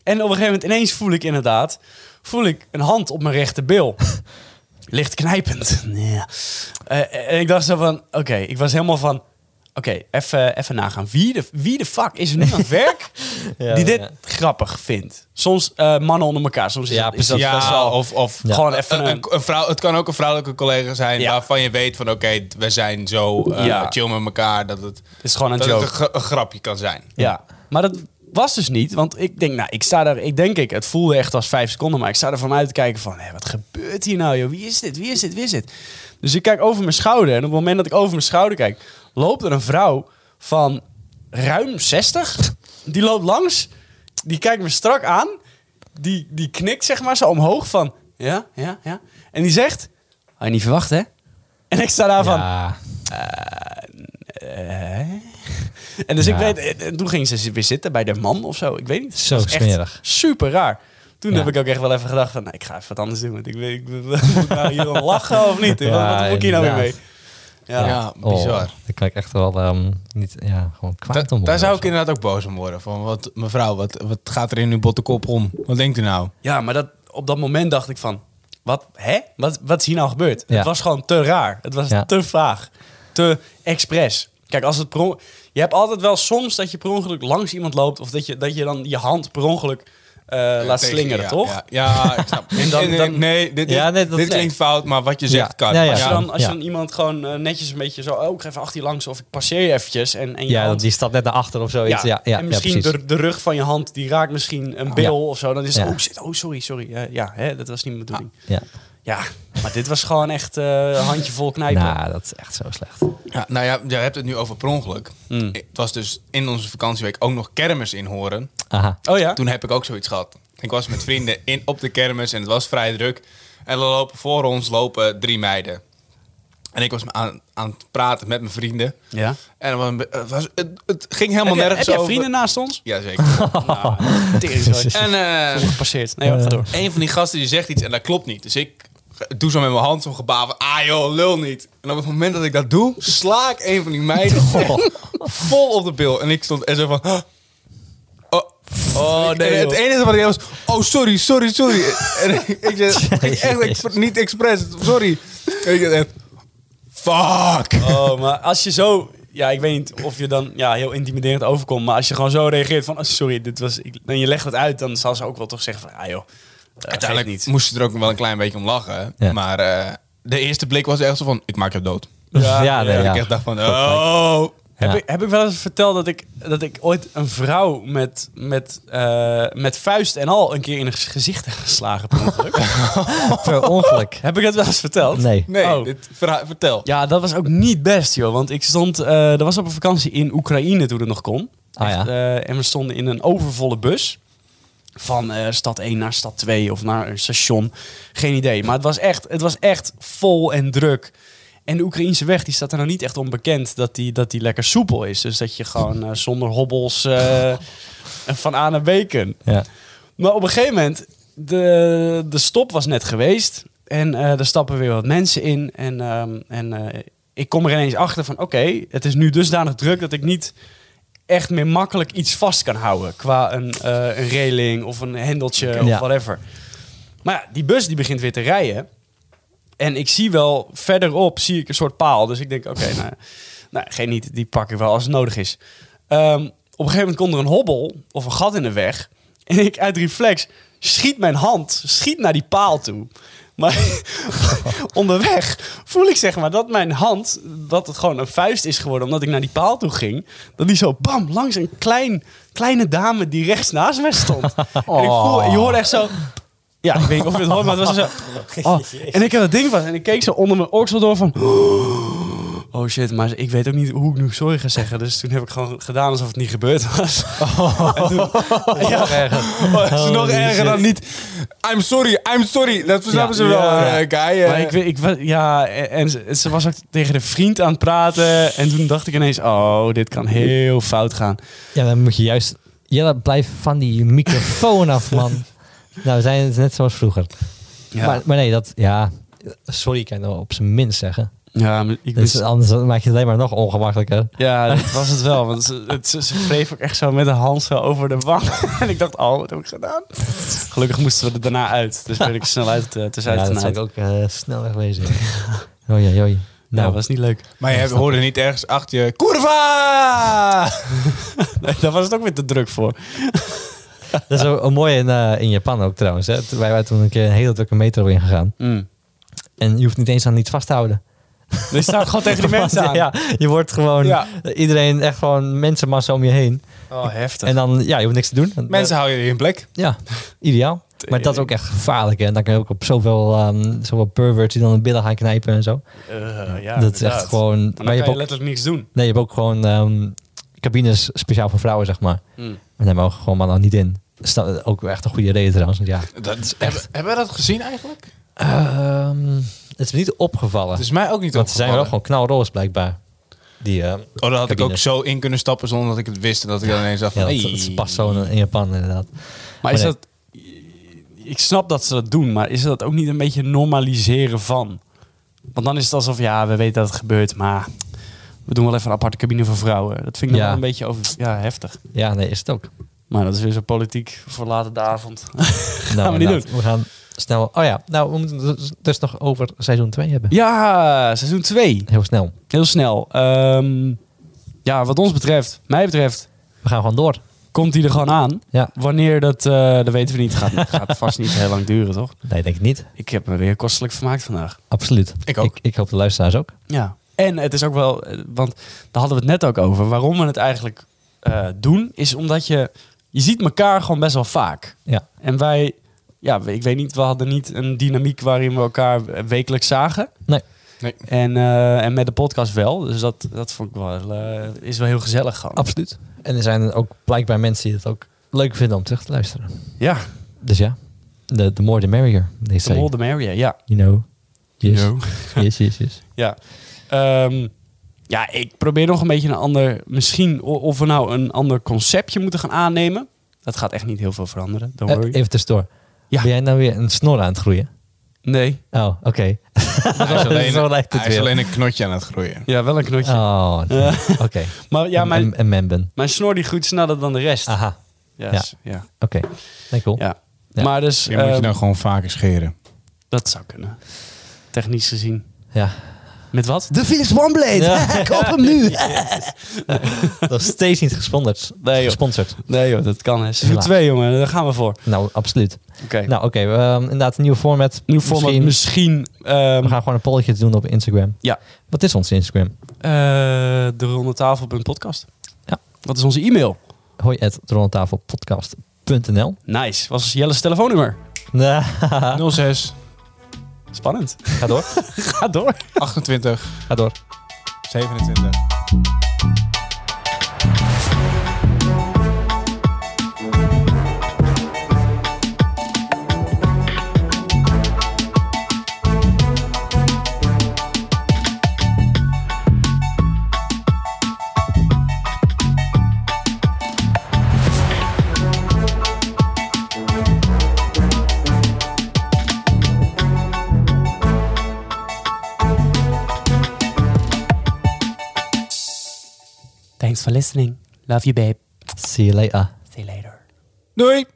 A: En op een gegeven moment ineens voel ik inderdaad, voel ik een hand op mijn rechterbil. Licht knijpend. Ja. Eh, en ik dacht zo van, oké, ik was helemaal van, Oké, even even nagaan. Wie de, wie de fuck is er nu aan het werk
B: Ja,
A: die dit
B: ja.
A: grappig vindt? Soms eh, mannen onder elkaar. Soms is
B: Ja,
A: dat- is dat
B: precies.
A: best
C: Ja,
A: wel...
C: of, of
B: Ja.
A: Gewoon even
C: een,
A: Eh, een...
C: een- een vrouw, het kan ook een vrouwelijke collega zijn
A: Ja.
C: waarvan je weet van oké, we zijn zo eh,
A: Ja.
C: chill met elkaar dat het,
A: het is gewoon een
C: dat het
A: joke.
C: een, gra- een grapje kan zijn.
A: Ja, maar dat was dus niet. Want ik denk, nou, ik sta daar, ik denk ik, het voelde echt als vijf seconden, maar ik sta er vanuit te kijken van, hé, wat gebeurt hier nou, joh? Wie is dit? Wie is dit? Wie is dit? Dus ik kijk over mijn schouder en op het moment dat ik over mijn schouder kijk, loopt er een vrouw van ruim 60. Die loopt langs, die kijkt me strak aan, die, die knikt zeg maar zo omhoog van, ja, ja, ja. En die zegt, had je niet verwacht, hè? En ik sta daar van,
B: Ja,
A: eh? En dus
B: Ja.
A: ik weet, eh, eh, toen ging ze weer zitten bij de man of zo. Ik weet niet.
B: Zo
A: Dat was echt
B: smerig.
A: Super raar. Toen
B: Ja.
A: heb ik ook echt wel even gedacht van, nee, ik ga even wat anders doen. Want ik weet, ik, moet ik nou hier om lachen of niet?
B: Ja,
A: wat, wat moet ik hier nou weer mee?
B: inderdaad.
A: Ja.
C: Ja. bizar.
B: Oh, daar kan ik echt wel ehm, niet, ja, gewoon kwaad
C: Da-
B: om worden
C: daar zou
B: of
C: ik
B: zo.
C: inderdaad ook boos om worden. Van wat, mevrouw, wat, wat gaat er in uw botte kop om? Wat denkt u nou?
A: ja, maar dat, op dat moment dacht ik van, wat, hè? Wat, wat is hier nou gebeurd?
B: Ja.
A: Het was gewoon te raar. Het was
B: Ja.
A: te vaag. Te expres. Kijk, als het per on- Je hebt altijd wel soms dat je per ongeluk langs iemand loopt... of dat je, dat je dan je hand per ongeluk eh, laat
C: Tegen-
A: slingeren,
C: ja,
A: toch?
C: Ja, ja, ik snap.
A: En dan-
C: Nee, nee,
A: dan-
C: nee, dit,
B: Ja, nee, dat-
C: dit
B: nee.
C: klinkt fout, maar wat je zegt
B: Ja.
C: kan.
B: Ja, ja.
A: Als je dan, als je
B: Ja.
A: dan iemand gewoon eh, netjes een beetje zo... Oh, ik ga even achter je langs of ik passeer je eventjes. En, en je
B: Ja,
A: hand,
B: die stapt net naar achter of zoiets. Ja, ja, ja,
A: en misschien
B: precies.
A: de, de rug van je hand, die raakt misschien een bil of zo. Dan is het,
B: Ja.
A: oh shit, oh sorry, sorry. Eh, ja, hè, dat was niet mijn bedoeling.
B: Ja.
A: Ja, maar dit was gewoon echt eh handjevol knijpen.
B: Nou, dat is echt zo slecht.
C: Ja, nou ja, je hebt het nu over per ongeluk.
A: Mm.
C: Het was dus in onze vakantieweek ook nog kermis in Horen.
B: Aha.
A: Oh ja?
C: Toen heb ik ook zoiets gehad. Ik was met vrienden in, op de kermis en het was vrij druk. En er lopen voor ons lopen drie meiden. En ik was me aan, aan het praten met mijn vrienden.
A: ja.
C: En er was een be- het, was, het, het ging
A: Heb,
C: helemaal
A: jij- heb
C: nergens
A: jij
C: over.
A: vrienden naast ons?
C: Jazeker.
A: Nou,
B: Jezus.
A: teringzooi.
C: en eh,
A: Gepasseerd. Nee, hoor, ga door.
C: een van die gasten die zegt iets en dat klopt niet. Dus ik doe zo met mijn hand zo'n gebaar van, ah joh, lul niet. En op het moment dat ik dat doe, sla ik een van die meiden
A: Oh.
C: vol op de bil. En ik stond en zo van... "Huh? Oh,
A: Oh, nee,
C: En het
A: joh.
C: enige wat ik deed was, oh sorry, sorry, sorry. en ik, ik zei, ik echt ex- niet expres, sorry. En ik dacht echt, fuck.
A: Oh, maar als je zo... Ja, ik weet niet of je dan ja, heel intimiderend overkomt. Maar als je gewoon zo reageert van... oh, sorry, dit was... Ik, en je legt het uit, dan zal ze ook wel toch zeggen van... Ah joh, uiteindelijk
C: Uiteindelijk
A: niet.
C: moest ze er ook wel een klein beetje om lachen.
B: Ja.
C: Maar eh, de eerste blik was echt zo van, ik maak je dood.
B: Ja, nee,
C: En
B: ja.
C: ik echt dacht van, oh.
A: Heb,
B: Ja.
A: ik, heb ik wel eens verteld dat ik, dat ik ooit een vrouw met, met, eh, met vuist en al een keer in het gezicht heb geslagen per ongeluk?
B: Per ongeluk.
A: heb ik dat wel eens verteld?
B: Nee.
C: Nee,
A: Oh.
C: dit verha- vertel.
A: Ja, dat was ook niet best, joh. Want ik stond... eh dat was op een vakantie in Oekraïne toen het nog kon.
B: Ah ja.
A: Echt, eh, en we stonden in een overvolle bus. Van eh, stad 1 naar stad 2 of naar een station. Geen idee. Maar het was echt, het was echt vol en druk. En de Oekraïnse weg die staat er nou niet echt onbekend dat die, dat die lekker soepel is. Dus dat je gewoon eh, zonder hobbels eh, van A naar B kunt.
B: Ja.
A: Maar op een gegeven moment, de, de stop was net geweest. En eh er stappen weer wat mensen in. En, ehm, en eh, ik kom er ineens achter van... oké, het is nu dusdanig druk dat ik niet echt meer makkelijk iets vast kan houden. Qua een, eh, een reling of een hendeltje of
B: Ja.
A: whatever. Maar ja, die bus die begint weer te rijden. En ik zie wel verderop zie ik een soort paal. Dus ik denk, oké, nou, nou, geen niet. Die pak ik wel als het nodig is. Ehm, op een gegeven moment komt er een hobbel of een gat in de weg. En ik uit reflex schiet mijn hand, schiet naar die paal toe. Maar onderweg voel ik zeg maar dat mijn hand, dat het gewoon een vuist is geworden omdat ik naar die paal toe ging. Dat die zo bam, langs een klein, kleine dame die rechts naast mij stond. En ik voel, je hoorde echt zo... Ja, ik weet niet of je het hoort, maar het was zo... Oh, en ik heb dat ding vast en ik keek zo onder mijn oksel door van... Oh shit, maar ik weet ook niet hoe ik nu sorry ga zeggen. Dus toen heb ik gewoon gedaan alsof het niet gebeurd was. En toen, ja,
C: Oh, het is nog
B: Holy
C: erger
B: shit.
C: dan niet. I'm sorry, I'm sorry. Dat versnappen
A: Ja,
C: ze wel,
A: ja.
C: eh, guy. eh.
A: maar ik, weet- ik, was- ja, en, en ze, ze was ook tegen de vriend aan het praten. En toen dacht ik ineens, oh, dit kan heel fout gaan.
B: ja, dan moet je juist... Ja, dan blijf van die microfoon af, man. nou, we zijn het net zoals vroeger.
A: Ja,
B: Maar, maar nee, dat... Ja, sorry kan je wel op zijn minst zeggen.
A: ja maar ik
B: Dus
A: wist,
B: anders maak je het alleen maar nog ongemakkelijker.
A: ja, dat was het wel. Want ze, het, ze, ze wreef ook echt zo met de hand zo over de wang. en ik dacht, oh, wat heb ik gedaan? Gelukkig moesten we er daarna uit. Dus ben ik snel uit, eh, het is
B: Ja,
A: uit
B: dat
A: en
B: zou
A: uit.
B: ik ook eh, snel wegwezen. Joi, joi, joi.
A: Nou, was niet leuk.
C: Maar je hoorde niet ergens achter je... Kurva!
A: Nee, daar was het ook weer te druk voor.
B: Dat is ook een mooie in, eh, in Japan ook trouwens. Hè. Wij waren toen een keer een hele drukke metro ingegaan.
A: Mm.
B: En je hoeft niet eens aan iets vast te houden.
A: Dus staat gewoon tegen die mensen aan.
B: Ja, je wordt gewoon...
A: Ja.
B: Iedereen echt gewoon mensenmassa om je heen.
A: Oh, heftig.
B: En dan, ja, je hoeft niks te doen.
C: Mensen houden je in plek.
B: Ja, ideaal. Maar dat is ook echt gevaarlijk. Hè? En dan kan je ook op zoveel, ehm zoveel perverts die dan de billen gaan knijpen en zo.
A: Eh, ja,
B: dat is echt
A: Maar
B: gewoon...
A: dan
B: maar je
A: kan
B: hebt
A: je
B: ook,
A: letterlijk niks doen.
B: nee, je hebt ook gewoon ehm, cabines speciaal voor vrouwen, zeg maar.
A: Mm.
B: En daar mogen gewoon mannen niet in. Dat is dan ook echt een goede reden trouwens. want Ja.
C: Dat is echt... Hebben, hebben we dat gezien eigenlijk?
B: Ehm, het is me niet opgevallen.
C: Dat is mij ook niet
B: want ze zijn wel
C: opgevallen.
B: gewoon knalroos blijkbaar. Die, ehm,
C: Oh, daar had ik
B: cabine.
C: ook zo in kunnen stappen zonder dat ik het wist. En dat ik dan ineens dacht van...
B: ja, dat,
C: hey.
B: dat past zo in, in Japan inderdaad.
A: Maar is
B: nee.
A: dat... Ik snap dat ze dat doen, maar is dat ook niet een beetje normaliseren van? Want dan is het alsof, ja, we weten dat het gebeurt, maar... We doen wel even een aparte cabine voor vrouwen. Dat vind ik dan
B: Ja.
A: wel een beetje over, ja, heftig.
B: Ja, nee, is het ook.
A: Maar dat is weer zo politiek voor later de avond.
B: Nou,
A: we niet
B: inderdaad, We gaan snel... Oh ja, nou, we moeten het dus- dus nog over seizoen 2 hebben.
A: Ja, seizoen 2.
B: Heel snel.
A: Heel snel. Ehm, ja, wat ons betreft, mij betreft,
B: We gaan gewoon door.
A: komt hij er gewoon aan.
B: Ja.
A: Wanneer dat, eh, dat weten we niet. Gaat, gaat vast niet heel lang duren, toch?
B: Nee, denk ik niet.
A: Ik heb me weer kostelijk vermaakt vandaag.
B: Absoluut.
C: Ik ook.
B: Ik, hoop de luisteraars ook.
A: Ja. En het is ook wel, eh, want daar hadden we het net ook over. Waarom we het eigenlijk eh, doen, is omdat je, je ziet elkaar gewoon best wel vaak.
B: Ja.
A: En wij, ja, we- ik weet niet, we hadden niet een dynamiek waarin we elkaar eh, wekelijks zagen.
B: Nee.
C: Nee.
A: En, eh, en met de podcast wel. Dus dat, dat vond ik wel, eh, is wel heel gezellig gewoon.
B: Absoluut. En er zijn ook blijkbaar mensen die het ook leuk vinden om terug te luisteren.
A: Ja,
B: Dus ja, the, the more the merrier, they
A: de
B: say.
A: Molde Maria, ja.
B: You know. Yes. yes, yes, yes. Eh,
A: Ja. Ehm, ja, ik probeer nog een beetje een ander... Misschien o- of we nou een ander conceptje moeten gaan aannemen. Dat gaat echt niet heel veel veranderen, don't
B: Eh,
A: worry.
B: even tussendoor.
A: Ja.
B: Ben jij nou weer een snor aan het groeien?
A: nee.
B: Oh, oké.
C: Hij is alleen,
B: Zo lijkt het
C: hij is
B: weer.
C: alleen een knotje aan het groeien.
A: Ja, wel een knotje.
B: Oh, oké.
A: Maar ja,
B: En-
A: mijn,
B: En, en memben.
A: mijn snor die groeit sneller dan de rest.
B: Aha,
A: ja.
B: ja.
A: s- ja.
B: oké. Nee, cool.
A: ja.
B: Ja.
A: Maar dus...
C: Misschien moet je nou-
A: ehm,
C: dan gewoon vaker scheren.
A: Dat zou kunnen. Technisch gezien.
B: Ja.
A: Met wat?
B: De Philips OneBlade.
A: Ja.
B: Koop hem nu. Dat is steeds niet gesponsord.
A: Nee, joh.
B: gesponsord.
A: Nee joh, dat kan hè. Seizoen
B: Helaas.
A: 2 jongen, daar gaan we voor.
B: Nou, absoluut.
A: Oké.
B: Nou, oké. we, ehm, inderdaad, een nieuw format.
A: nu voor misschien...
B: Misschien-
A: misschien ehm,
B: We gaan gewoon een polletje doen op Instagram.
A: Ja.
B: Wat is ons Instagram?
A: Eh, de ronde tafel.podcast.
B: Ja.
A: Dat is onze e-mail.
B: Hoi at rondetafelpodcast.nl.
A: Nice. Was Jelle's telefoonnummer.
B: Nou,
C: 06
A: Spannend.
B: Ga door.
A: Ga door.
C: 28
B: Ga door.
C: 27.
A: Thanks for listening. Love you babe.
B: See you later.
A: See you later.
C: Doei!